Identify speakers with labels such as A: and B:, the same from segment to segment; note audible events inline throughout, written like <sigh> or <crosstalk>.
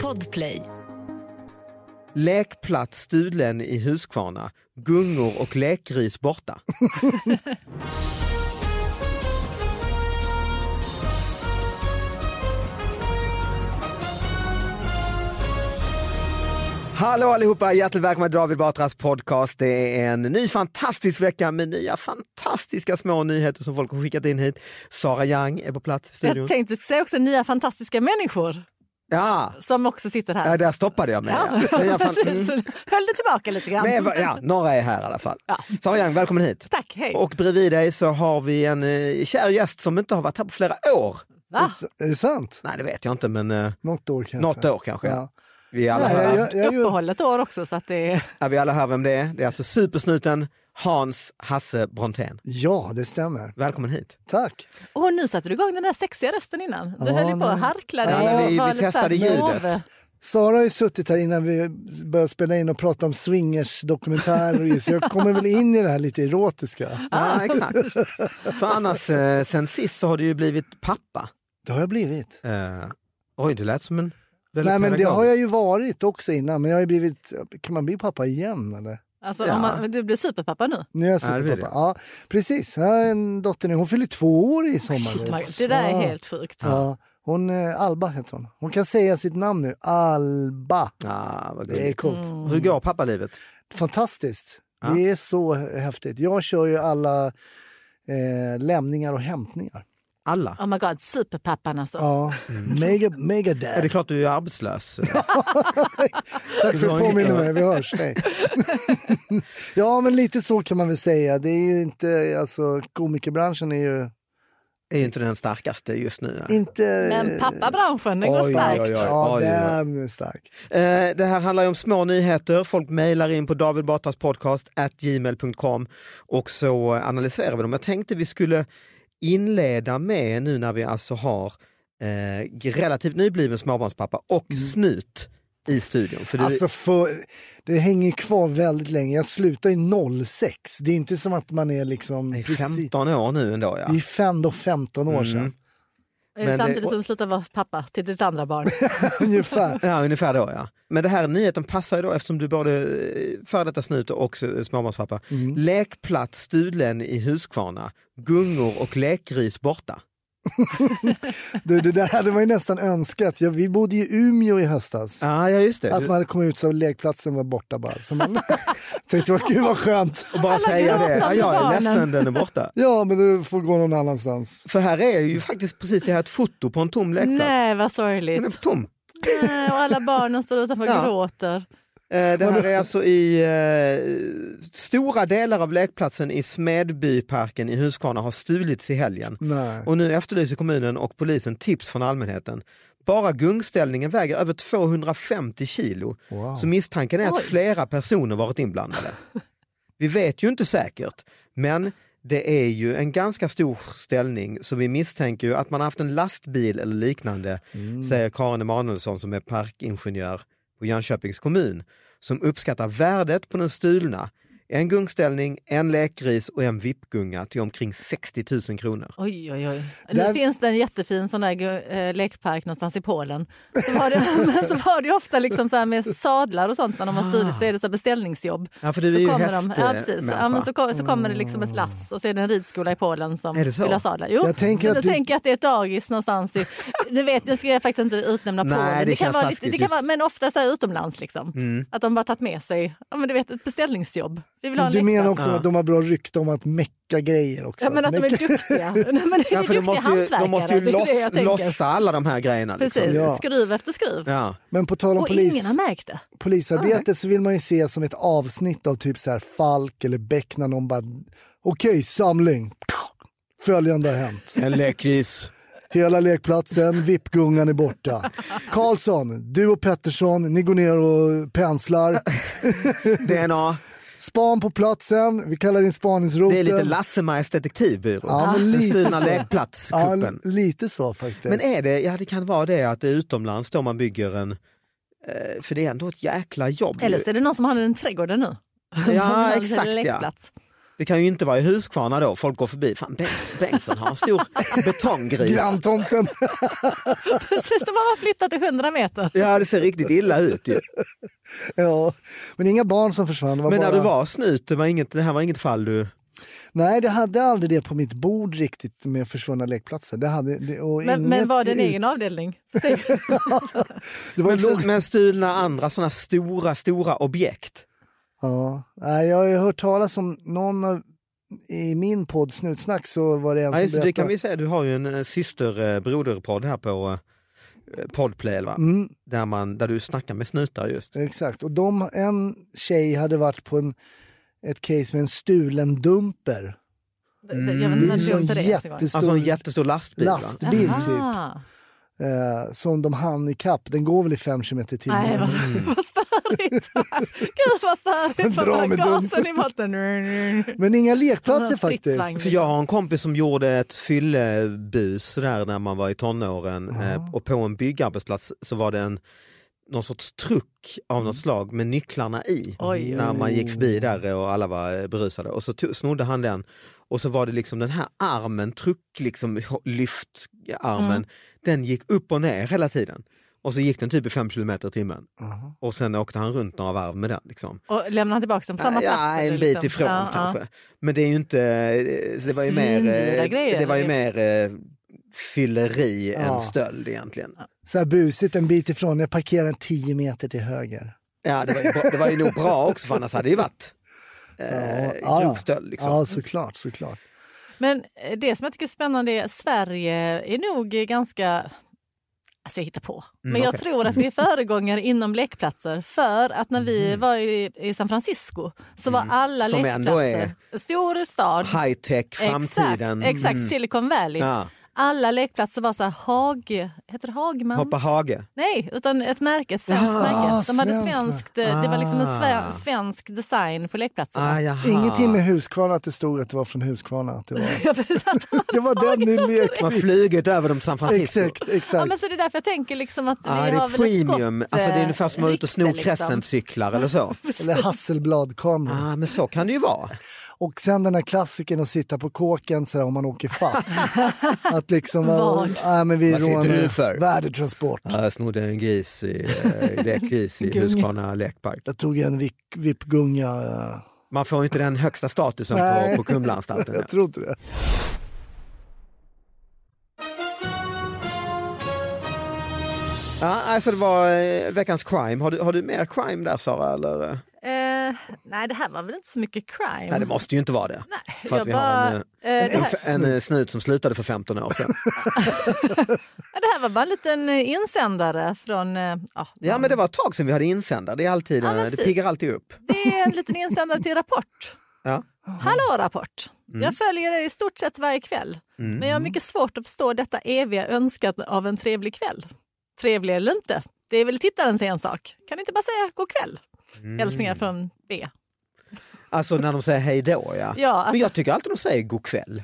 A: Podplay.
B: Lekplats stulen i Huskvarna. Gungor och lekgris borta. <laughs> Hallå allihopa, hjärtligt välkomna till David Batras podcast. Det är en ny fantastisk vecka med nya fantastiska små nyheter som folk har skickat in hit. Sara Young är på plats i studion.
A: Jag tänkte säga också nya fantastiska människor
B: Ja,
A: som också sitter här.
B: ja, där stoppade jag mig. Ja. Mm.
A: Ja,
B: Nya fan-
A: <laughs> precis.
C: Mm.
A: Höll det tillbaka lite grann.
B: Men, va- ja,
A: <laughs>
B: några är här i alla fall. Sara Young, välkommen hit.
A: Tack, hej.
B: Och bredvid dig så har vi en eh, kär gäst som inte har varit här på flera år.
A: Va?
C: Är det sant?
B: Nej, det vet jag inte, men eh,
C: Något år kanske.
B: något år kanske.
C: Ja.
B: Vi, är alla
C: Nej, jag,
B: hör,
C: jag, jag, jag,
A: Uppehållet år också så att det är...
B: ja, vi alla hör vem det är. Det är alltså supersnuten Hans Hasse Brontén.
C: ja, det stämmer.
B: Välkommen hit.
C: Tack.
A: Och nu satte du igång den där sexiga rösten innan. Du
C: Ja,
A: höll ju på och
C: nej.
A: harklade
B: Ja, nej,
A: och
B: vi- vi
A: var lite så här
B: testade ljudet.
A: sov.
C: Sara har ju suttit här innan vi började spela in och prata om swingers-dokumentärer. och Så jag kommer väl in i det här lite erotiska.
A: Ah.
B: Ja, exakt. För annars, eh, sen sist så har du ju blivit pappa.
C: Det har jag blivit.
B: Eh, oj, du lät som en väldigt
C: Nej, men det
B: pedagog.
C: har jag ju varit också innan. Men jag har ju blivit... Kan man bli pappa igen eller?
A: Alltså,
B: Ja.
A: om man, du blir superpappa nu.
C: Nu är jag
B: Ja, det blir
C: superpappa. Ja, precis. Jag har en dotter nu. Hon fyller två år i sommar.
A: Det där är helt sjukt.
C: Ja, hon, eh, Alba heter hon. Hon kan säga sitt namn nu. Alba.
B: Ja, vad
C: Det är
B: det
C: coolt.
B: Hur går pappalivet?
C: Fantastiskt. Det är så häftigt. Jag kör ju alla eh, lämningar och hämtningar.
B: Alla?
A: Oh my god, superpappan alltså.
C: Ja. Mega, mega
B: Är Mm. det
C: dad.
B: klart du är
C: <laughs>
B: arbetslös?
C: Tack för
B: Du har inget
C: att du påminner
B: annat.
C: mig. Vi hörs. Nej. <laughs> ja, men lite så kan man väl säga. Det är ju inte, alltså komikerbranschen är ju
B: är ju inte den starkaste just nu.
C: inte...
A: Men pappabranschen, den går
B: Oj,
A: starkt.
B: oj, oj.
C: Ja,
B: Oj, oj, oj.
C: den är stark.
B: Eh, Det här handlar ju om små nyheter. Folk mejlar in på David Batras podcast at gmail.com och så analyserar vi dem. Jag tänkte vi skulle inleda med nu när vi alltså har eh, relativt nybliven småbarnspappa och snut i studion. För du,
C: Mm. Alltså för, det hänger ju kvar väldigt länge. Jag slutar ju 06. Det är inte som att man är liksom...
B: det är
C: precis-
B: 15 år nu ändå
C: Det är
B: ja. Mm.
C: ju fem- då 15 år sedan.
B: Men eh,
A: Samtidigt
B: det-
A: som du slutar vara pappa till ditt andra
B: <laughs>
A: barn.
C: <laughs> Ungefär.
B: Ja, ungefär då ja. Men det här nyheten passar ju då eftersom du både eh, före detta snut och s- eh, småbarnspappa. Lekplats stulen i Huskvarna, gungor och lekgris borta.
C: Du, det där hade man ju nästan önskat. Ja, vi bodde ju i Umeå i höstas.
B: Ah, ja, just det.
C: Att man kom ut så lekplatsen var borta bara.
B: <laughs>
C: Så man tänkte, vad, gud vad skönt.
B: och bara säga det. Ja,
A: gråtande
B: jag är
A: barnen.
B: ledsen, den är borta.
C: Ja, men du får gå någon annanstans.
B: För här är ju faktiskt precis det här ett foto på en tom lekplats.
A: Nej, vad
B: Den är <laughs>
A: sorgligt.
B: tom.
A: Nej, och alla barnen står utanför och
B: Ja.
A: gråter.
B: Eh, Det här är alltså i eh, stora delar av lekplatsen i Smedbyparken i Huskvarna har stulits i helgen.
C: Nej.
B: Och nu efterlyser kommunen och polisen tips från allmänheten. Bara gungställningen väger över 250 kilo. Så misstanken är att
A: Oj.
B: flera personer varit inblandade. Vi vet ju inte säkert, men det är ju en ganska stor ställning så vi misstänker ju att man har haft en lastbil eller liknande,
A: Mm.
B: säger Karin Emanuelsson som är parkingenjör på Jönköpings kommun, som uppskattar värdet på den stulna. En gungställning, en lekgris och en vippgunga till omkring 60 000 kronor.
A: Oj, oj, oj.
C: Där-
A: Nu finns det en jättefin sån där gu- eh, lekpark någonstans i Polen. Så var det, <laughs> men så var det ju ofta liksom så här med sadlar och sånt när de har stulit så är det så här beställningsjobb.
B: Ah. Ja, för du
A: så
B: är ju
A: kommer de, ja,
B: hästmänniska. Mm.
A: precis. Ja, men så, ko- så kommer det liksom ett lass och så är det en ridskola i Polen som
B: Är det så?
A: vill ha sadlar. Jo,
C: Jag tänker
A: så
C: att
A: jag
C: du-
A: tänker att det är ett dagis någonstans i... Nu, vet, nu ska jag faktiskt inte utnämna
B: Nej,
A: Polen.
B: det
A: kan
B: känns
A: vara
B: taskigt,
A: det kan
B: just. Mm.
A: vara, men ofta så här utomlands liksom. Att de bara tagit med sig ja, men du vet, ett beställningsjobb. Vi vill ha en
C: Du
A: lekpark.
C: menar också att de har bra rykte om att mecka grejer också?
A: Ja, men att de är
B: <laughs>
C: Mecka-
A: duktiga. Nej, men det är
B: Ja, för de
A: duktiga
B: måste ju,
A: hantverkare.
B: de måste ju
A: det är det
B: loss,
A: jag tänker.
B: lossa alla de här grejerna. Liksom.
A: Precis,
C: Ja.
A: skruv efter skruv.
B: Ja.
C: <laughs> men på tal om
A: Och
C: polis,
A: ingen har märkt det.
C: polisarbetet så vill man ju se som ett avsnitt av typ så här Falk eller Beck när någon bara okej samling, följande har hänt.
B: En
C: <laughs>
B: lekgris.
C: Hela lekplatsen, vippgungan är borta. Karlsson, du och Pettersson, ni går ner och penslar.
B: DNA.
C: Span på platsen, vi kallar in spaningsroteln.
B: Det är lite Lassemajs detektivbyrå.
C: Ja, men
B: Den
C: lite
B: stulna
C: så. Ja,
B: lekplatskuppen.
C: l- lite så faktiskt.
B: Men är det, ja det kan vara det att det är utomlands då man bygger en, eh, för det är ändå ett jäkla jobb.
A: Eller
B: ju.
A: så är det någon som har en trädgård nu.
B: <laughs>
A: <laughs>
B: ja,
A: En
B: exakt, ja.
A: lekplats.
B: Det kan ju inte vara i Huskvarna då, folk går förbi, fan Bengt, Bengtsson har
A: <laughs>
B: en stor betonggris.
C: Granntomten.
A: <laughs>
C: <laughs>
A: Precis, de har flyttat till 100 meter.
B: Ja det ser riktigt illa
A: <laughs>
B: ut ju.
C: ja. Men inga barn som försvann. Det var
B: Men
C: bara...
B: när du var snut, det, var inget, det här var inget fall du...
C: Nej, det hade aldrig det på mitt bord riktigt med försvunna lekplatser. Det hade, det, och
A: Men,
C: inget
A: men var det en
C: ut-
A: egen avdelning? Säg.
C: Det var
B: Men,
C: men, långt.
B: men stulna andra sådana stora, stora objekt.
C: Ja. Nej, jag har ju hört talas om någon av, i min podd Snutsnack så var det en
B: Ja,
C: som
B: just, det, det
C: berättade.
B: kan vi säga, du har ju en eh, syster eh, broderpodd här på eh, Podplay va?
A: Mm.
B: Där, man, där du snackar med snutar just.
C: Exakt, och de, en tjej hade varit på en, ett case med en stulen dumper.
A: Jag vet inte
C: En
A: om
C: sån
A: det är ens en gång.
C: jättestor
B: Alltså en Mm, jättestor lastbil. va?
C: lastbil typ.
A: Aha.
C: Eh, som de hann ikapp. Den går väl i 5 km i
A: Nej,
C: timmen.
A: vad,
B: Mm.
A: <laughs> vad störigt. Gud, vad störigt.
C: Dra
A: Dra
C: med
A: gasen
C: dumpen.
A: i botten.
C: Men inga lekplatser
A: En stridsvagn.
C: faktiskt.
B: För jag har en kompis som gjorde ett fyllebus sådär när man var i tonåren eh, och på en byggarbetsplats så var det en någon sorts truck av något slag med nycklarna i
A: Mm. Oj,
B: när man gick förbi där och alla var eh, berusade och så to- snodde han den och så var det liksom den här armen, truck liksom ho- lyftarmen, den gick upp och ner hela tiden och så gick den typ i 5 km i timmen och sen åkte han runt några varv med den. Liksom.
A: Och lämnar han tillbaka dem på samma
B: Ja,
A: plats? eller
B: en bit
A: liksom?
B: ifrån
A: Ja, ja.
B: kanske. Men det är ju inte, eh, det var ju mer,
A: Svindyra
B: eh,
A: grejer,
B: det var ju
A: eller?
B: mer eh, fylleri än stöld egentligen.
C: Så här busigt en bit ifrån. Jag parkerar en 10 meter till höger.
B: Ja, det, var ju, bra- det var ju nog bra också för annars hade det ju varit eh, grov stöld. Liksom.
C: ja, såklart, såklart.
A: Men eh, det som jag tycker är spännande är Sverige är nog eh, ganska... Alltså jag hittar på. Men
B: Mm,
A: jag tror att vi
B: <laughs>
A: är föregångare inom lekplatser. För att när vi var i, i San Francisco så var alla
B: Mm-hmm. Som ändå
A: lekplatser... Stor stad.
B: High tech, framtiden.
A: Exakt, exakt
B: Mm.
A: Silicon Valley.
B: Ja.
A: Alla lekplatser var så här hage... Heter det Hagman?
B: Hoppa hage.
A: Nej, utan ett märke, ett svenskt märke. De hade
C: svenskt.
A: svenskt, eh, det var liksom en sve-
B: Ah.
A: svensk design på lekplatserna.
B: Ah, jaha.
C: Ingenting med Huskvarna att det stod att det var från Huskvarna. Att
A: <laughs>
C: det, var.
A: Ja, precis.
C: det var den ni lekte.
B: Man flugit över dem till San Francisco.
C: Exakt,
A: Ja,
C: exakt.
A: men så det är därför jag tänker liksom att
B: Ah,
A: vi
B: det
A: har
B: är
A: väl ett
B: premium,
A: gott,
B: alltså, det är
A: eh,
B: ungefär som att vara ute och sno
A: rykte, liksom.
B: crescentcyklar
A: <laughs>
B: eller så.
C: Eller Hasselbladkameror.
B: Ah, men så kan det ju vara.
C: Och sen den här klassiken att sitta på kåken så här, om man
A: <laughs>
C: åker fast. att liksom, Vad? Nej, men vi
B: Vad sitter
C: rånar
B: du för?
C: Värdetransport.
B: Ah, Jag snodde en gris i, eh, lekgris i
C: Gunga.
B: Huskvarna lekpark.
C: Jag tog en vip- vippgunga. eh,
B: Man får ju inte den högsta statusen
C: Nej.
B: på,
A: <laughs>
B: på Kumlaanstalten.
C: Jag tror inte det.
B: Ja, alltså det var eh, veckans crime. Har du, har du mer crime där Sara? Eller? eh?
A: Eh, nej, det här var väl inte så mycket crime.
B: Nej det måste ju inte vara det.
A: Mm. Nej,
B: För att
A: jag
B: vi
A: bara,
B: har en,
A: eh,
B: eh,
A: det,
B: en,
A: här,
B: f- en eh, snut som slutade för 15 år
A: <laughs>
B: sedan.
A: det här var bara en liten eh, insändare från... eh, Ja,
B: Ja men det var ett tag sedan vi hade insändare. Det, är alltid,
A: Ja,
B: eh,
A: men
B: det
A: precis.
B: piggar alltid upp.
A: det är en liten insändare till Rapport.
B: Ja.
A: Hallå Rapport!
B: Mm.
A: Jag följer er i stort sett varje kväll. Men jag har mycket svårt att förstå detta eviga önskan av en trevlig kväll. Trevlig eller inte, det
B: Mm.
A: är väl tittarens ensak. Kan ni inte bara säga god kväll? Hälsningar från B.
B: Alltså när de säger hej då ja.
A: Ja, alltså-
B: Men jag tycker alltid de säger god kväll.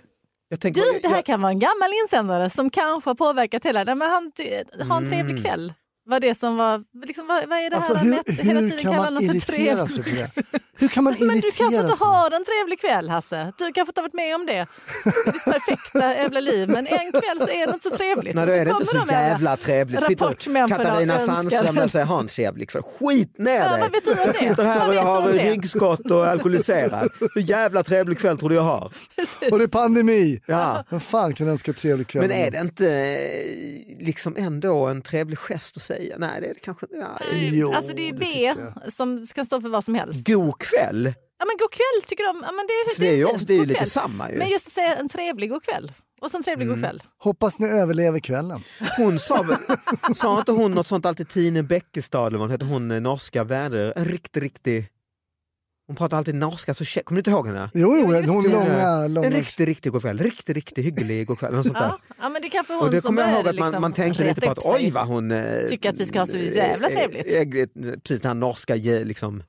B: Jag tänker,
A: Du,
B: jag-
A: det här
B: jag-
A: kan vara en gammal insändare som kanske har påverkat hela... Nej, men han, ty- ha en
B: Mm.
A: trevlig kväll. Var det som var, liksom, vad, vad är det här
C: Alltså
A: han
C: hur,
A: äter? hela
C: hur
A: tiden
C: kan
A: kallar
C: man
A: honom för
C: irritera
A: trevlig?
C: sig på det? Hur kan man
A: Men du
C: irritera
A: kanske inte
C: sig?
A: har en trevlig kväll Hasse. Du kanske inte har varit med om det. Ditt perfekta jävla liv. Men en kväll så är det inte så trevligt.
B: Nej,
A: Och
B: då är det inte så
A: kommer de här
B: jävla trevligt. Sitter
A: rapportmän för
B: Katarina
A: att önska
B: Sandström där
A: den.
B: och säger ha en trevlig kväll. Skit ner
A: Ja,
B: dig!
A: vad vet du om
B: jag
A: det?
B: sitter här
A: Vad
B: och
A: vet
B: jag
A: du
B: har
A: om det?
B: ryggskott och är alkoholiserad. Hur jävla trevlig kväll tror du jag har?
C: Och det är pandemi!
B: Ja.
C: Vem fan kan önska trevlig kväll?
B: Men är det inte eh, liksom ändå en trevlig gest att säga? Nej, det är det kanske inte. Ja,
C: Jo,
A: Alltså det är
C: det
A: B som ska stå för vad som helst.
B: eh, God kväll!
A: Ja, men god kväll tycker de. Ja, men det,
B: För det är ju
A: fint.
B: också- det är ju
A: God
B: lite
A: kväll.
B: samma ju. Mm.
A: Men just att säga en trevlig god kväll. Och så en trevlig god kväll.
C: Hoppas ni överlever kvällen.
B: Hon sa, väl- sa inte hon något sånt alltid Tine Bäckestad eller vad hon heter, hon eh, norska väder, en riktig, riktig... Hon pratar alltid norska, så tje- kommer du inte ihåg henne?
C: Jo, jo, hon
B: det.
C: långa, långa...
B: Typ. En riktig, riktig god kväll, riktig, riktig hygglig god kväll. Något sånt där.
A: Ja, ja, men det är kanske hon
B: Och det
A: som
B: kommer jag ihåg
A: började
B: att man,
A: liksom
B: man tänkte
A: reta
B: lite på att
A: upp sig.
B: oj vad hon... eh,
A: Tycker att vi ska ha så jävla
B: eh,
A: trevligt.
B: eh, eh, Precis, den här norska ge- liksom,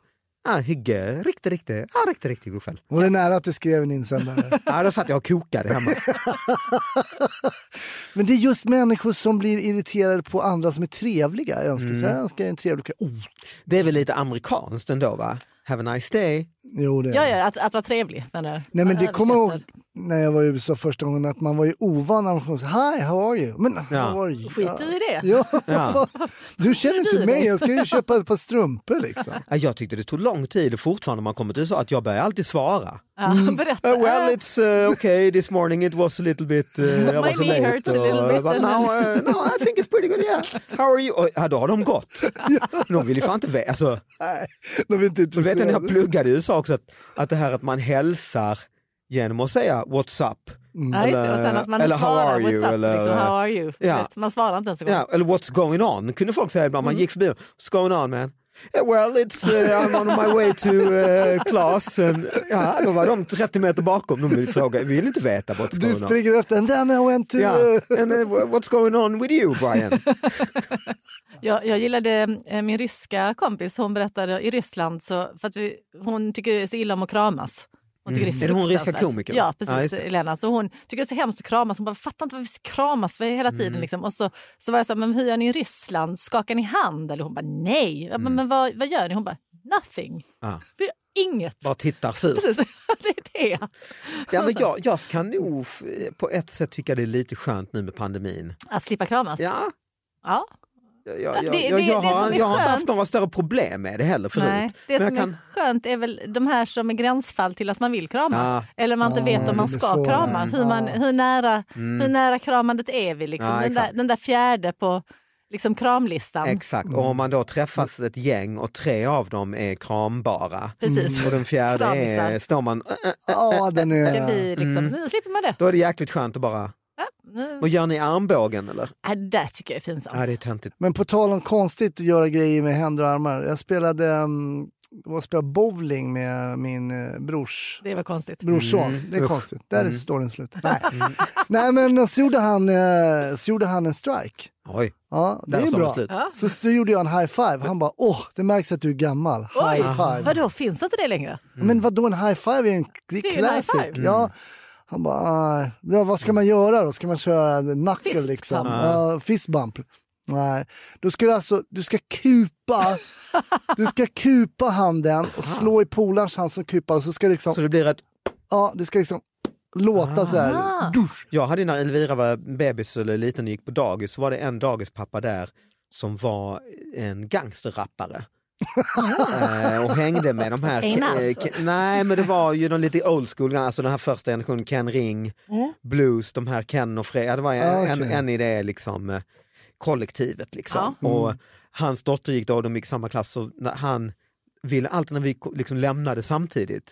B: ah, hygge, riktig, riktig, ah, riktig, riktig god kväll.
C: Var det nära att du skrev
B: <laughs>
C: en insändare?
B: Ja, då satt jag och kokade hemma.
C: Men det är just människor som blir irriterade på andra som är trevliga. Jag
B: Mm.
C: önskar, så här, jag önskar en trevlig kväll. Oh,
B: Det är väl lite amerikanskt ändå va? Have a nice day.
C: jo, det är.
A: Ja, ja, att, att vara trevlig menar du?
C: Nej, men
A: Man
C: det kommer jag ihåg
A: översätter.
C: när jag var i USA första gången att man var ju ovan när man kom. så här, Hi, how are you? Men how are you?
A: Skiter du i det?
C: <laughs> Ja, vad fan. Du känner
A: Hur är
C: inte
A: du?
C: mig, jag ska ju köpa ett par strumpor liksom.
B: Ja, Jag tyckte det tog lång tid och fortfarande när man kommer till USA att jag börjar alltid svara.
A: Ja, berätta.
B: Uh, well it's uh, okay this morning it was a
A: <laughs>
B: little bit, uh, I
A: My
B: was
A: knee
B: late.
A: hurts a little
B: uh,
A: bit
B: But
A: and
B: now, uh, no I think it's pretty good
A: <laughs>
B: yeah. How are you? Och, ja, då har de gått. De vill ju fan inte veta. Alltså,
C: <laughs> De är inte
B: Du vet när
C: intresserade.
B: jag pluggade i USA också att, att det här att man hälsar genom att säga what's up.
A: ja, just det. Och sen att man
B: Eller how
A: svarar,
B: are you,
A: What's up,
B: eller-
A: liksom, how are you?
B: Ja.
A: Vet, Man svarar inte ens en gång.
B: Ja, eller what's going on kunde folk säga ibland. Man
A: Mm.
B: gick förbi och, what's going on man? "Yeah, well it's, uh, I'm on my way to
A: <laughs>
B: uh, class. And, ja, då var de 30 meter bakom. De vill fråga, vill inte veta what's
C: Du
B: going on.
C: springer efter, and then I went to... <laughs>
B: Ja, and then, what's going on with you Brian?
A: Jag, jag gillade eh, min ryska kompis. Hon berättade i Ryssland, så, för att vi, hon tycker så illa om att kramas. Hon tycker det
B: Mm. Är det hon ryska
A: fruktansvärt.
B: komikern?
A: Ja,
B: Ja,
A: precis.
B: just det.
A: Elena. Så hon tycker det är så hemskt att kramas. Hon bara, fattar inte varför vi kramas för hela tiden.
B: Mm.
A: Liksom. Och så, så var jag så här, men hur gör ni i Ryssland? Skakar ni hand? Eller hon bara, nej. Jag
B: Mm.
A: bara, men vad, vad gör ni? Hon bara, nothing.
B: Ja.
A: Vi gör inget.
B: Ah. Bara tittar
A: <laughs>
B: sur.
A: Precis, <laughs> det är det.
B: Ja, men jag, jag kan nog f- eh, på ett sätt tycka det är lite skönt nu med pandemin.
A: Att slippa kramas?
B: Ja,
A: Ja.
B: Jag, jag,
A: Det-
B: jag,
A: det-
B: jag,
A: det
B: jag,
A: som
B: har,
A: är
B: jag har inte
A: skönt-
B: haft några större problem med det heller förut.
A: Nej. Det
B: Men jag
A: som är skönt är väl de här som är gränsfall till att man vill krama.
B: Ja.
A: Eller man inte vet om man
C: det är
A: ska
C: så.
A: krama. Hur, man, hur, nära, hur nära kramandet är vi? Liksom.
B: Mm. Ja,
A: den, där,
B: exakt.
A: den där fjärde på liksom, kramlistan.
B: Mm. Exakt, och om man då träffas ett gäng och tre av dem är krambara
A: Precis.
B: och den fjärde är,
A: Kramisar.
B: står man, äh, äh,
C: Ja, den
A: Ska
C: är...
A: vi, liksom, Nu slipper man det.
B: Mm. då är det jäkligt skönt att bara,
A: Nu,
B: och gör ni armbågen eller?
A: äh, det där tycker jag är pinsamt.
B: Ja det är töntigt.
C: Men på tal om konstigt att göra grejer med händer och armar. Jag spelade, um, jag spelade bowling med min eh, brors
A: Det var konstigt.
C: brorson. Det är konstigt. Där är storyn slut. Nej. Nej, men så gjorde, han, eh, så gjorde han en strike.
B: Oj,
C: Ja, det
B: där
C: är
B: står det
C: bra.
B: slut.
C: Så då gjorde jag en high five. Han bara, åh, det märks att du är gammal.
A: Oj,
C: High five.
A: vadå, finns inte det längre?
C: Mm. Men vad då en high five är en det
A: Det är
C: är
A: ju en high
C: classic.
A: five.
B: Mm.
C: Ja. Han bara, "Ah, ja, vad ska man göra då? Ska man köra en knuckle
A: Fist
C: liksom?
A: bump.
C: Ja, fist bump. Nej, då ska du alltså, du ska kupa, du ska kupa handen och slå i polarens hand som kupar och så ska du liksom,
B: Så det blir att,
C: ja, det ska liksom låta så här.
A: Ah.
B: jag hade när Elvira var bebis eller liten och gick på dagis så var det en dagispappa där som var en
C: <laughs>
B: gangsterrappare. Eh, och hängde med de här...
A: Einar.
B: eh, Ke- nej men det var ju de lite old school, alltså den här första generationen Ken Ring, Blues, de här Ken och Fred, ja, det var en,
C: Mm. Ah, okej.
B: en, en i det liksom, eh, kollektivet liksom. Och
C: Mm.
B: hans dotter gick då, och de gick i samma klass, så när han ville alltid när vi ko- liksom lämnade samtidigt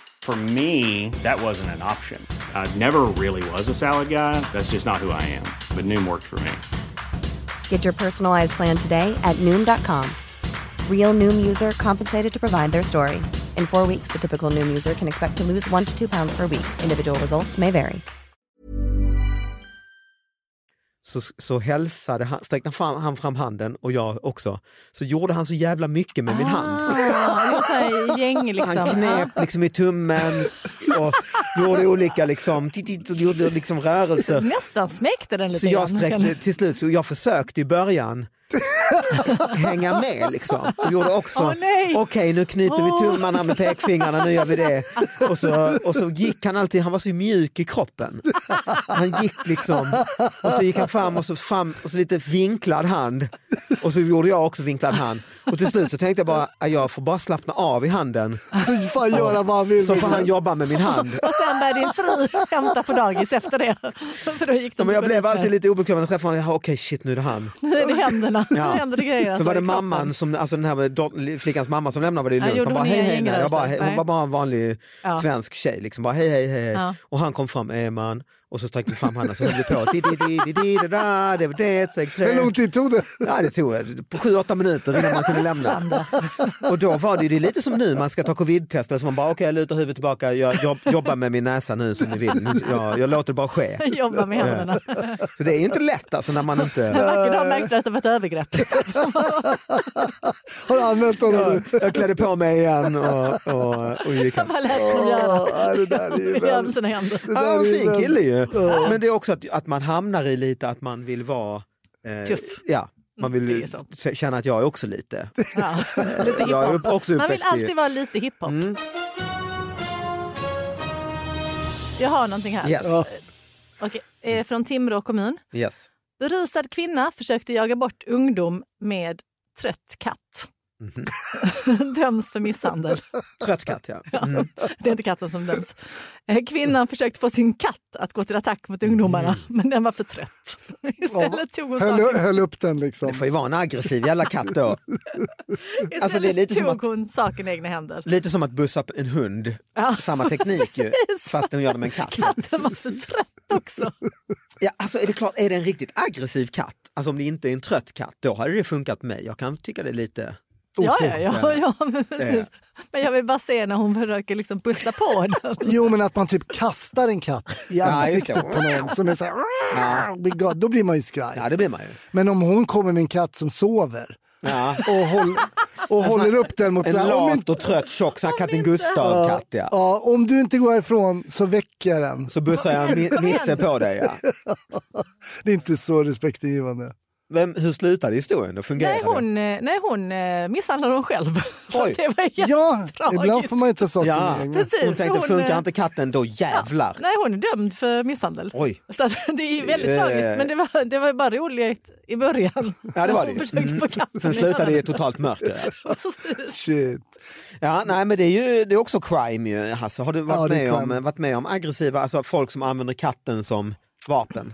D: For me, that wasn't an option. I never really was a salad guy. That's just not who I am. But Noom worked for me.
E: Get your personalized plan today at Noom.com. Real Noom user compensated to provide their story. In four weeks, the typical Noom user can expect to lose one to two pounds per week. Individual results may vary.
B: så, så hälsade han, sträckte fram, han fram handen och jag också. Så gjorde han så jävla mycket med min hand.
A: Ah, det var så här gäng liksom.
B: Han knep liksom i tummen och gjorde olika liksom, titt, titt, och gjorde liksom
A: Ja.
B: rörelser.
A: Nästan smäckte den lite
B: Så jag
A: grann.
B: sträckte till slut, så jag försökte
A: <laughs>
B: i början hänga med liksom. Och gjorde också,
A: Åh, nej.
B: okej nu kniper vi
A: Åh.
B: tummarna med pekfingrarna, nu gör vi det. Och så, och så gick han alltid, han var så mjuk i kroppen. Han gick liksom, och så gick han fram och så, fram, och så lite vinklad hand. Och så gjorde jag också vinklad hand. Och till slut så tänkte jag bara, "Ah, jag får bara slappna av i handen.
C: Så får han göra vad han vill.
B: Så får han jobba med
A: <laughs>
B: min hand.
A: Och sen började din fru <laughs> hämta på dagis efter det. <laughs> För då gick det
B: Ja, men jag
A: inte
B: blev
A: bättre.
B: alltid lite obekväm när jag träffade honom. Ja, Okej, shit nu är det han.
A: Nu är det händerna. Nu
B: Ja.
A: händer det grejer.
B: Sen
A: alltså,
B: var det
A: i kroppen.
B: mamman, som, alltså den här dot- flickans mamma som lämnade var det
A: Ja,
B: lugnt.
A: gjorde
B: man bara
A: hon
B: hej
A: inga
B: hej, nej. Jag bara,
A: gängrörelser?
B: hon
A: Nej.
B: var bara en vanlig
A: Ja.
B: svensk tjej. Liksom. Bara, hej hej hej. hej.
A: Ja.
B: Och han kom fram, är man. Och så sträckte vi fram handen så höll vi på. Di, di, di, di, di, da, da, det var det, steg tre.
C: Hur lång tid tog det?
B: Ja, det tog eh, på sju, åtta minuter innan
A: <laughs>
B: man kunde lämna. Och då var det, ju- det är lite som nu, man ska ta covid-test. Så man bara, okej, jag lutar huvudet tillbaka, jag jobb, jobbar med min näsa nu som ni vill. Nu- Jag, jag låter det
A: <laughs>
B: bara ske.
A: Jobba med händerna.
B: Så det är ju inte lätt alltså när man inte...
A: Varken dag märkte du att det var ett övergrepp.
C: Har du använt honom?
B: <laughs> Jag klädde på mig igen och, och, och gick hem.
A: Vad lät det göra?
C: Ja, det där är ju
A: Göra med
C: väldigt-
A: sina händer.
C: det där
B: Ja,
C: är
B: en
C: ju
B: fin
C: väldigt-
B: kille ju. Men det är också att, att man hamnar i lite att man vill vara... eh,
A: Tuff.
B: Ja, man
A: Mm,
B: vill
A: det är sant.
B: k- känna att jag är också lite.
A: Ja, lite
B: Jag är
A: hiphop.
B: upp, också
A: Man vill
B: uppväxt i... Mm.
A: alltid vara lite hiphop. Jag har någonting här.
B: Yes.
A: Okej, eh, Från Timrå kommun.
B: Yes.
A: Berusad kvinna försökte jaga bort ungdom med trött katt. <laughs>
B: Mhm.
A: döms för misshandel.
B: Trött katt ja. Mm.
A: <laughs> Det är inte katten som döms. Eh, Kvinnan försökte få sin katt att gå till attack mot ungdomarna,
B: Mm.
A: men den var för trött. <laughs> Istället tog hon
C: Höll,
A: saken,
C: höll upp den liksom.
B: Det får ju vara en aggressiv jävla katt då. alltså, det är lite
A: istället
B: som
A: tog hon saken i egna händer.
B: Lite som att bussa upp en hund.
A: Ja,
B: Samma
A: <laughs>
B: teknik ju, fast hon gör det med en katt.
A: Katten var för trött
B: <laughs>
A: också.
B: Ja, alltså är det klart, är det en riktigt aggressiv katt, alltså om det inte är en trött katt, då hade det funkat på mig. Jag kan tycka det är lite...
A: Ja, ja,
B: otrevligt.
A: ja, ja men, precis. men jag vill bara se när hon försöker liksom pussa på
B: <laughs>
A: den.
C: Jo men att man typ kastar en katt i
B: Ja, just det.
C: ansiktet på någon som är så här, blir glad, då blir man ju skraj.
B: Ja, det blir man ju.
C: Men om hon kommer med en katt som sover
B: Ja.
C: och, håll, och håller upp den mot
B: En
C: så här, om,
B: lat
C: inte,
B: och trött tjock så här katten Gustav-katt ja.
C: ja, om du inte går härifrån så väcker jag den.
B: Så bussar jag mi- Nisse på dig. Ja.
C: <laughs> Det är inte så respektingivande.
B: Vem, hur slutade historien? Då fungerade
A: Nej,
B: det?
A: hon, eh, nej, hon eh, misshandlade hon själv. <laughs> Så
B: Oj.
A: det var
C: Ja,
A: jättetragiskt.
C: ibland får man inte saker
B: Ja,
C: med egna-
A: Precis,
B: hon tänkte
A: hon,
B: funkar
A: eh,
B: inte katten då jävlar.
A: Nej, hon är dömd för misshandel.
B: Oj.
A: Så att, <laughs> det är ju väldigt
B: Eh.
A: tragiskt, men det var, det var ju bara roligt i början.
B: Ja det var
A: Hon
B: det ju. Mm.
A: försökte få katten
B: Sen
A: i
B: slutade det i
A: handen.
B: totalt mörker. Ja.
C: Shit.
B: ja, nej men det är ju det är också crime ju Hasse. Har du
C: Ja,
B: varit,
C: det är
B: med, om,
C: crime.
B: varit med om aggressiva, alltså folk som använder katten som vapen?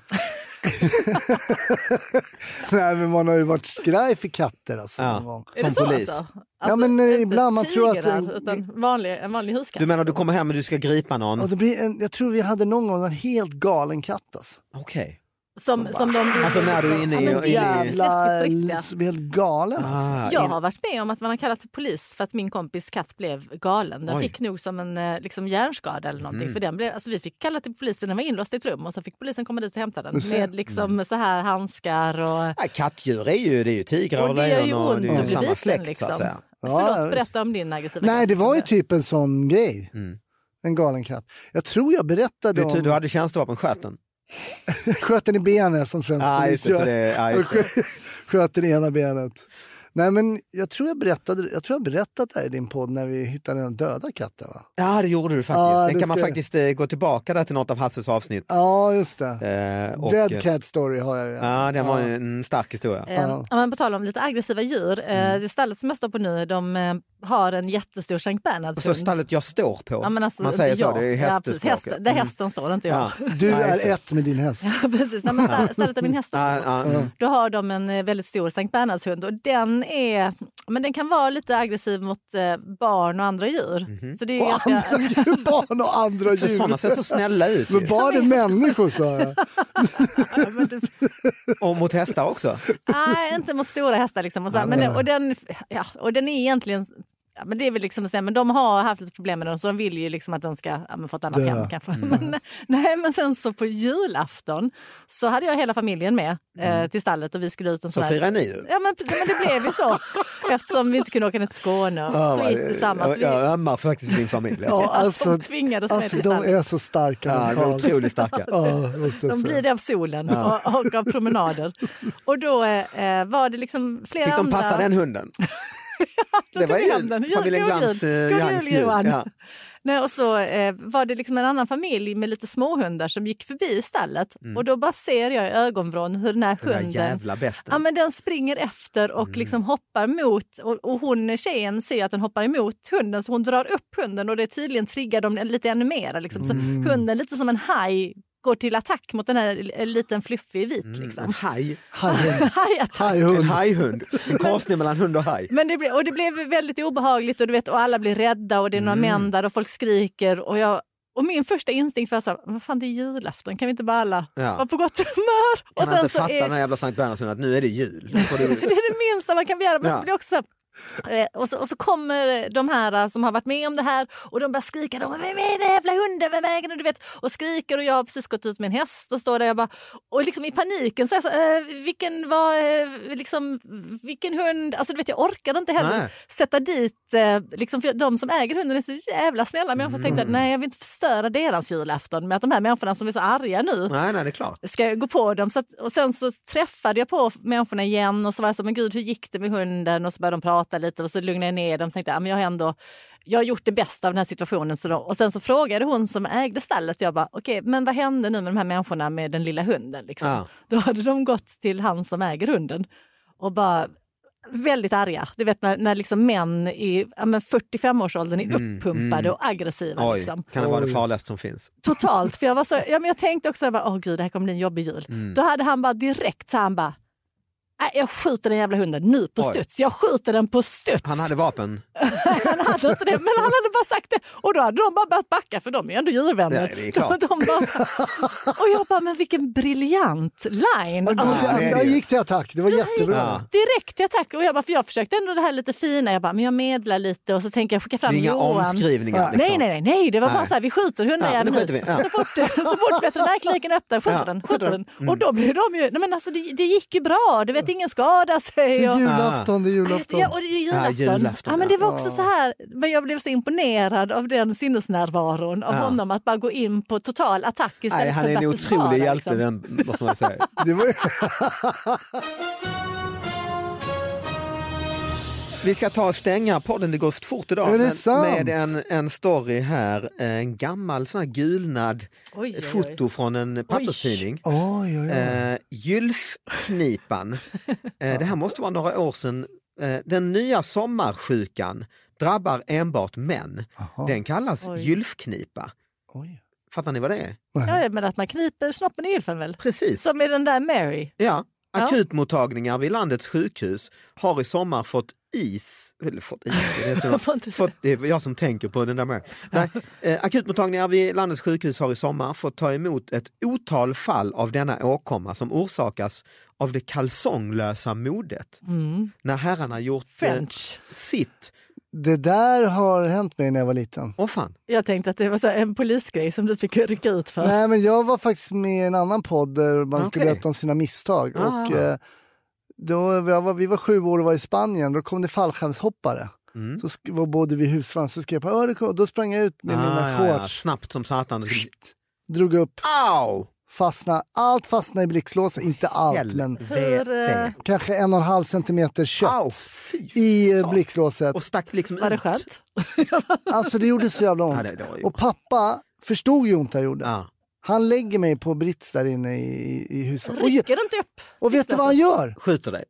C: Nej men man har ju varit skraj för katter alltså.
B: Ja.
C: någon gång.
A: Är det så
B: som polis.
A: Alltså?
C: Ja, men, eh,
A: inte
C: ibland man tror att-
A: tigrar, Utan vanlig, en vanlig huskatt.
B: eh, Du menar du kommer hem och du ska gripa någon?
C: Och det blir en, jag tror vi hade någon gång en helt galen katt alltså.
B: Okej.
A: som, som de liksom.
B: Alltså när du är inne
A: Ja,
B: i... Inne
A: men
B: i
C: Jävla,
A: Läskigt på riktigt.
C: som är helt galen alltså.
B: ah,
A: Jag
B: in-
A: har varit med om att man har kallat till polis för att min kompis katt blev galen. Den
B: Oj. Mm.
A: fick nog som en eh, liksom, hjärnskada eller någonting. För den blev, alltså, vi fick kalla till polis för den var inlåst i ett rum och så fick polisen komma dit och hämta den
B: Mm.
A: med liksom, så här handskar och...
B: Ja, kattdjur är ju, det är ju tigrar
A: Och det gör ju
B: lejon och
A: ont
B: det
A: att
B: är
A: bli
B: ju samma
A: biten.
B: släkt
A: liksom.
B: så att säga.
C: Ja,
A: Förlåt,
C: visst.
A: berätta om din aggressiva
C: Nej
A: katt.
C: det var ju typ en sån grej.
B: Mm.
C: En galen katt. Jag tror jag berättade
B: Du,
C: om
B: typ- du hade tjänstevapen, sköt den?
C: <laughs> sköt den i benet som svensk
B: Ja, Ah, just
C: polis
B: det, så
C: gör.
B: det, ja, just det.
C: Skö- <laughs> Sköt den i ena benet. Nej men jag tror jag berättade, jag tror jag berättat det här i din podd när vi hittade den döda katten va?
B: Ja, det gjorde du faktiskt.
C: Ja,
B: Den
C: det
B: kan man
C: ska-
B: faktiskt eh, gå tillbaka där till något av Hasses avsnitt.
C: Ja just det.
B: Eh, och, eh,
C: Dead cat story har jag ju.
B: Ja, den var ju en stark historia.
A: Ehm,
B: Mm.
A: Eh, Om man på tal om lite aggressiva djur. Eh, det stället som jag står på nu, de eh, har en jättestor Sankt Bernhardshund.
B: Så stallet jag står på.
A: Ja, men alltså,
B: Man säger
A: ja,
B: så, det är
A: ja, precis.
B: hästespråket. Mm.
A: Hästen- där hästen står, inte
B: <laughs>
A: jag.
C: Du
B: Nej, just
C: är
B: det.
C: ett med din häst.
A: <laughs> Ja, precis. Nej, men stä- stället där min häst
B: <laughs> Ja, ja, mm.
A: Då har de en eh, väldigt stor Sankt Bernhardshund och den, är, men den kan vara lite aggressiv mot eh, barn och andra djur.
B: Mhm.
A: Så det är ju
C: Och
A: ganska,
C: andra djur, barn och andra
B: För
C: djur.
B: sådana ser så snälla ut.
C: Men
B: ju.
C: barn är människor
A: <laughs>
C: sa jag.
B: Och mot hästar också.
A: nej, inte mot stora hästar. Liksom och, så, här. men den, och, den, ja, och den är egentligen... Ja, men det är väl liksom, så här, men de har haft lite problem med den så de vill ju liksom att den ska ja, men få ett annat
C: Dö.
A: hem. Kanske.
B: Mm.
A: Men, nej, men sen så på julafton så hade jag hela familjen med eh, till stallet och vi skulle ut en
B: Mm. Så
A: sån här
B: firar ni ju.
A: Ja men, precis, men det blev ju
B: <laughs>
A: så. Eftersom vi inte kunde åka ner till Skåne och skit tillsammans.
B: jag,
A: alltså, Vi,
B: jag ömmar faktiskt för din familj.
C: Ja, alltså,
A: de tvingades med
C: alltså,
A: till
C: de
A: stallet.
C: är så starka
B: Ja, de är
C: mentalt.
B: otroligt starka.
C: Ja, måste jag
A: De
C: säga.
A: blir det av solen och, och av promenader. Och då eh, var det liksom flera
B: Fick de
A: andra...
B: passa
A: <laughs>
B: den hunden?
A: Då
B: Det
A: tog
B: var
A: vi
B: jul.
A: hem den. Jul-
B: Familjen
A: god
B: Glans,
A: jul.
B: eh,
A: God
B: Jangs
A: jul,
B: jul.
A: Johan.
B: Ja.
A: Nej, och så eh, var det liksom en annan familj med lite småhundar som gick förbi stallet och då bara ser jag i ögonvrån hur den här
B: Mm. Den där
A: hunden
B: jävla besten. Mm.
A: Ja, men den springer efter och liksom hoppar mot och, och hon tjejen ser att den hoppar emot hunden så hon drar upp hunden och det tydligen triggar dem lite ännu mer. Liksom. Så
B: Mm.
A: Hunden lite som en haj går till attack mot den här eh, liten fluffig vit.
B: Mm. <laughs>
A: Liksom.
B: Haj.
A: <laughs> Hajattack.
B: Hajhund. En hajhund. En korsning mellan hund och haj.
A: <laughs> Men det, blev, och det blev väldigt obehagligt och, du vet, och alla blir rädda och det är några
B: Mm.
A: män där och folk skriker. Och, jag, och min första instinkt var så här, vad fan det är julafton, kan vi inte bara alla
B: Ja.
A: vara på gott humör?
B: Kan
A: och
B: han inte
A: så
B: fatta den här jävla Sankt Bernhardshunden att nu är det jul? Nu
A: <laughs>
B: får <laughs>
A: det
B: du-
A: är det minsta man kan begära. Men
B: Ja.
A: så blir det också, eh, och, så, och så kommer de här eh, som har varit med om det här och de börjar skrika. De, bara, Vem är den jävla hunden? Vem äger den? Du vet, och skriker och jag har precis gått ut med en häst och står där jag bara, och liksom i paniken så är jag så, eh, vilken var, eh, liksom, vilken hund? Alltså du vet jag orkade inte heller
B: Nej.
A: sätta dit, eh, liksom, för de som äger hunden är så jävla snälla människor. Mm. Tänkte att nej jag vill inte förstöra deras julafton med att de här människorna som är så arga nu
B: Nej, nej, det är klart.
A: ska jag gå på dem? Så att, och sen så träffade jag på människorna igen och så var jag så, men gud hur gick det med hunden? Och så började de prata lite och så lugnade jag ner dem. Så tänkte jag, "Ja, men jag har ändå jag har gjort det bästa av den här situationen. Så då, och sen så frågade hon som ägde stallet, jag bara, okej, men vad hände nu med de här människorna med den lilla hunden? Liksom?
B: Ja.
A: Då hade de gått till han som äger hunden och bara väldigt arga. Du vet när, när liksom män i ja, men 45-årsåldern är uppumpade och aggressiva.
B: Mm, Oj,
A: Liksom.
B: kan det vara det farligaste som finns?
A: Totalt. För jag, var så, ja, men jag tänkte också, jag bara, åh gud, det här kommer bli en jobbig jul.
B: Mm.
A: Då hade han bara direkt, så han bara, Nej, jag skjuter den jävla hunden nu på
B: Oj.
A: studs. Jag skjuter den på studs.
B: Han hade
A: <laughs>
B: vapen.
A: han hade inte det, men han hade bara sagt det. Och då hade de bara börjat backa, för de är ju ändå djurvänner.
B: Ja, det är klart.
A: De, de bara, och jag bara, men vilken briljant line.
C: Jag,
A: Alltså,
C: gick till-
B: Ja, det är det
C: jag
B: ju.
C: gick till attack, det var jättebra.
B: Ja.
A: direkt till attack. Och jag bara, för jag försökte ändå det här lite fina, jag bara, men jag medlar lite och så tänker jag skicka
B: Det
A: fram
B: är inga
A: Johan.
B: omskrivningar. liksom.
A: Nej, nej, nej, nej, det var bara
B: Nej.
A: så här, vi skjuter hundar
B: Ja,
A: ja,
B: nu
A: nu.
B: skjuter vi, ja.
A: Så fort, <laughs> så fort veterinärkliniken öppnar, skjuter
B: Ja,
A: den,
B: skjuter
A: skjuter
B: den. Mm.
A: den. Och då blir de ju, nej men alltså det, det gick ju bra, du vet ingen skadade
C: Det
A: sig.
C: är
A: Och,
C: julafton, det är julafton.
A: Ja, och det är julafton.
B: Ja, julafton,
A: ja, men det
B: ja.
A: var också så här, men jag blev så imponerad av den sinnesnärvaron av
B: Ja.
A: honom att bara gå in på total attack istället
B: Nej, han
A: för
B: är
A: att
B: en
A: bara försvara,
B: otrolig hjälte,
A: liksom.
B: den, måste man säga. <laughs>
C: Det var,
B: Vi ska ta och stänga podden, det går fort idag.
C: Är det
B: men-
C: sant?
B: Med en, en story här, en gammal sån här gulnad
A: Oj, oj, oj.
B: foto från en papperstidning.
C: oj, oj, oj.
B: Eh, Gylfknipan, eh, det här måste vara några år sedan. Eh, den nya sommarsjukan drabbar enbart män. Den kallas
A: Oj.
B: gylfknipa.
C: Oj.
B: Fattar ni vad det är?
A: Ja, men att man kniper snoppen i gylfen väl?
B: Precis.
A: Som i den där Mary.
B: Ja,
A: Ja.
B: akutmottagningar vid landets sjukhus har i sommar fått is, eller fått is, det är
A: <laughs>
B: så-
A: Får inte-
B: fått, det är jag som tänker på den där med. Nej, eh, akutmottagningar vid landets sjukhus har i sommar fått ta emot ett otal fall av denna åkomma som orsakas av det kalsonglösa modet. När herrarna gjort eh,
A: Mm. French.
B: sitt.
C: Det där har hänt mig när jag var liten.
B: Åh fan,
A: Jag tänkte att det var så här en polisgrej som du fick rycka ut för.
C: Nej, men jag var faktiskt med i en annan podd där man skulle
B: Okej.
C: berätta om sina misstag.
B: Ah.
C: Och, eh, då, jag var, vi var sju år och var i Spanien, då kom det fallskärmshoppare.
B: Mm.
C: Så sk- var både vi i husvagn, så skrev jag på, "Ja, det kom-" då sprang jag ut med
B: Ah,
C: mina
B: ja, ja.
C: shorts,
B: snabbt som satan.
C: drog upp,
B: Au!
C: fastnade, allt fastnade i blixtlåset, inte allt men
A: eh,
B: Helvete.
C: kanske en och en halv centimeter kött
B: Au, <laughs> fy
C: i eh,
B: fan.
C: blixtlåset.
B: Och stack liksom
A: Var det
B: ut.
A: skönt?
C: Alltså det gjorde så jävla ont.
B: Ja, det- det var ju-
C: och pappa förstod ju ont jag gjorde.
B: Ja.
C: Han lägger mig på brits där inne i, i huset. Och,
A: Rycker den inte upp?
C: och vet du vad han gör?
B: Skjuter dig.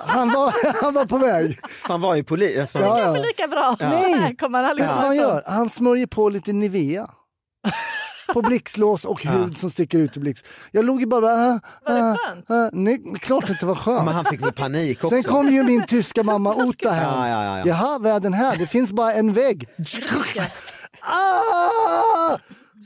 C: han, var, <laughs> han var på väg.
B: Han var ju polis. Alltså.
A: Det är kanske lika bra.
C: Ja.
A: Här
C: Nej,
A: kommer han liksom. aldrig
C: vet du vad han gör? Han smörjer på lite Nivea. På blixtlås och hud som sticker ut ur blixt. Jag låg ju bara... Äh, var det skönt? nej, klart det inte var skönt.
B: Men han fick väl panik också.
C: Sen kom ju min
B: <laughs>
C: tyska mamma Ota
B: Ja,
C: här.
B: ja, ja, ja.
C: Jaha, vad är den här? Det finns bara
B: <laughs>
C: en vägg. ah!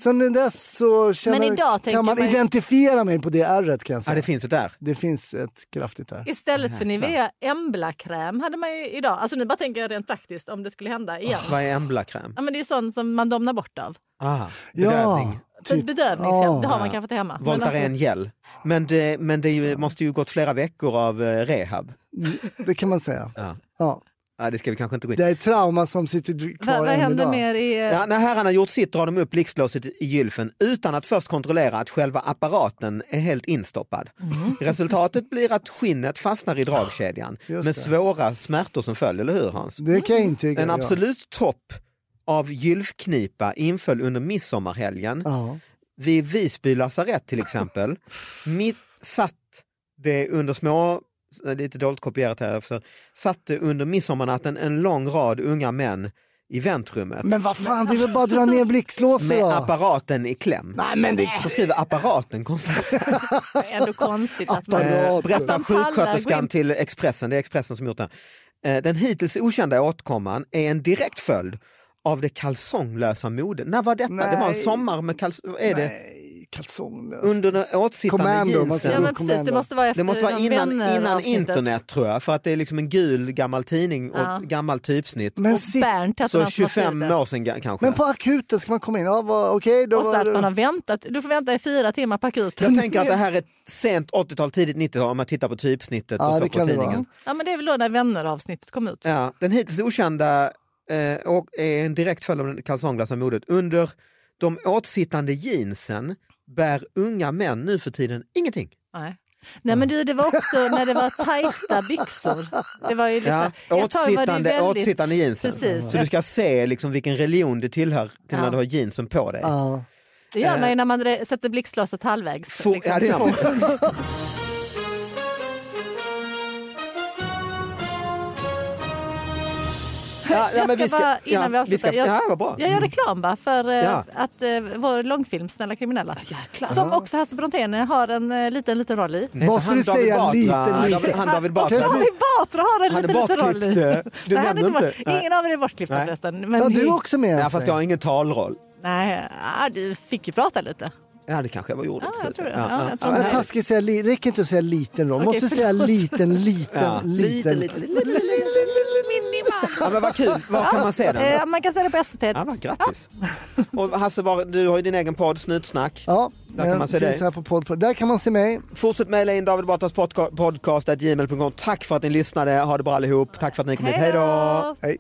C: Sen dess så känner,
A: Men idag tänker
C: kan man
A: man ju-
C: identifiera mig på det ärret kan jag
B: Ja,
C: säga.
B: det finns ju där.
C: det finns ett kraftigt ärr.
A: Istället för Nivea Embla-kräm hade man ju idag. Alltså nu bara tänker jag rent praktiskt om det skulle hända igen.
B: Vad är Embla-kräm?
A: Ja, men det är ju sånt som man domnar bort av.
B: Ah,
C: Ja,
B: bedövning.
A: Typ. Bedövningshjälp, det har
C: Ja.
A: man kanske till hemma. Men
B: Voltaren
A: alltså,
B: gel. Men det, men det är ju, måste ju gått flera veckor av eh, rehab.
C: det kan man säga.
B: Ja.
C: Ja.
B: Ah, det ska vi kanske inte gå in
C: Det är ett trauma som sitter dr- kvar
A: vad, vad
C: än
A: händer
C: idag.
A: mer i... eh,
B: Ja, när herrarna gjort sitt drar de upp blixtlåset i gylfen utan att först kontrollera att själva apparaten är helt instoppad.
C: Mm.
B: Resultatet blir att skinnet fastnar i dragkedjan
C: Just
B: med
C: det.
B: svåra smärtor som följd, eller hur Hans?
C: Det kan jag intyga.
B: En
C: ja.
B: absolut topp av gylfknipa inföll under midsommarhelgen.
C: Ja.
B: Vid Visby lasarett till
C: <laughs>
B: exempel. Mitt satt det under små, lite dåligt kopierat här, efter, satt det under midsommarnatten en lång rad unga män i väntrummet
C: Men vad fan, det är väl bara att dra ner blixtlåset
B: med
C: då?
B: apparaten i kläm.
C: Nej, men det...
B: Så skriver apparaten konstant.
A: Det är ändå konstigt att man...
B: Eh,
C: Apparaten.
B: Berättar
A: Man pallar gå
B: sjuksköterskan
A: in.
B: till Expressen, det är Expressen som gjort det. här. Eh, Den hittills okända åtkomman är en direkt följd av det kalsonglösa modet. När var detta? Det var en
C: Nej.
B: sommar med kalsonger. Är det?
C: Nej, kalsonglös.
B: Under den åtsittande
C: Commando, man
A: Ja,
C: säger.
B: jeansen.
A: men precis, det måste vara efter
B: Det måste vara
A: någon
B: innan,
A: vänner-
B: innan
A: avsnittet.
B: internet tror jag, för att det är liksom en gul gammal tidning och
A: Ja.
B: gammal typsnitt.
C: Men,
A: Och
C: sit...
A: Bernt, att
B: Så
A: man har skrivit
B: 25
A: det.
B: år sedan ga- kanske.
C: men på akuten ska man komma in. Ja, vad- Okej, då
A: Och så
C: var
A: att
C: det...
A: man har väntat. Du får vänta i fyra timmar på akuten.
B: Jag tänker att det här är ett sent 80-tal, tidigt 90-tal om man tittar på typsnittet
C: Ja,
B: och så
C: det
B: på
C: kan det
B: tidningen.
C: vara.
A: <laughs> Ja, men det är väl då när vänner-avsnittet kom ut.
B: Ja, den hittills okända eh, och är en direkt följd av den kalsonglösa modet. Under de åtsittande jeansen bär unga män nu för tiden ingenting.
A: Nej. Nej men du, det var också när det var tajta byxor. Det var ju lite,
B: Ja,
A: ett tag var det ju
B: åtsittande,
A: väldigt-
B: åtsittande jeansen.
A: Precis.
B: Så du ska se liksom vilken religion det tillhör till när
A: Ja.
B: du har jeansen på dig.
C: Ja.
A: Det gör man ju när man re- sätter blixtlåset halvvägs.
B: Eh. Få-
A: liksom.
B: ja, det gör man. Ja, ja,
A: Jag
B: men
A: ska bara, innan vi
B: ja, vi
A: avslutar,
B: ska,
A: jag,
B: ja, vad bra. Mm.
A: jag gör reklam va, för eh,
B: Ja.
A: att, eh, vår långfilm Snälla kriminella, som också Hasse Brontén har en eh, liten, liten roll i.
B: Heter
C: Måste
B: han
C: du
B: David
C: säga
B: Batra?
C: lite, lite?
B: David- Han David
C: Kan
B: Batra.
C: inte
A: David Batra har en
B: Han är
A: liten, liten roll i.
B: bortklippt, eh, du
A: Nej, han är
B: nämnde
A: inte
B: inte.
A: bort, ingen av er är bortklippta
B: Nej.
A: förresten. Men
C: Ja, du är också med.
B: Ja,
C: alltså.
B: fast jag har ingen talroll.
A: Nej, ja, du fick ju prata lite.
B: Ja, det kanske jag gjorde
A: Ja,
B: till
A: jag
B: slut.
A: tror det. Ja, jag tror
C: Ja,
A: det.
C: men taskigt att säga li... Räcker inte att säga liten roll.
A: Okej,
C: Måste du säga
A: förlåt.
C: liten, liten,
B: Ja.
C: liten?
B: Liten, liten, liten, liten, Ja, men vad kul. Var kan man se den?
A: Eh, man kan se det på SVT.
B: Ja, vad grattis. Och Hasse, var, du har ju din egen podd Snutsnack.
C: Ja,
B: Där kan
C: den
B: man se
C: finns
B: dig.
C: här på podd. Där kan man se mig.
B: Fortsätt mejla in David Batras podca- podcast at gmail.com. Tack för att ni lyssnade. Ha det bra allihop. Tack för att ni kom hit. Hej då!
C: Hej.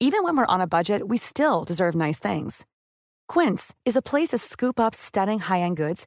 F: Even when we're on a budget, we still deserve nice things. Quince is a place to scoop up stunning high end goods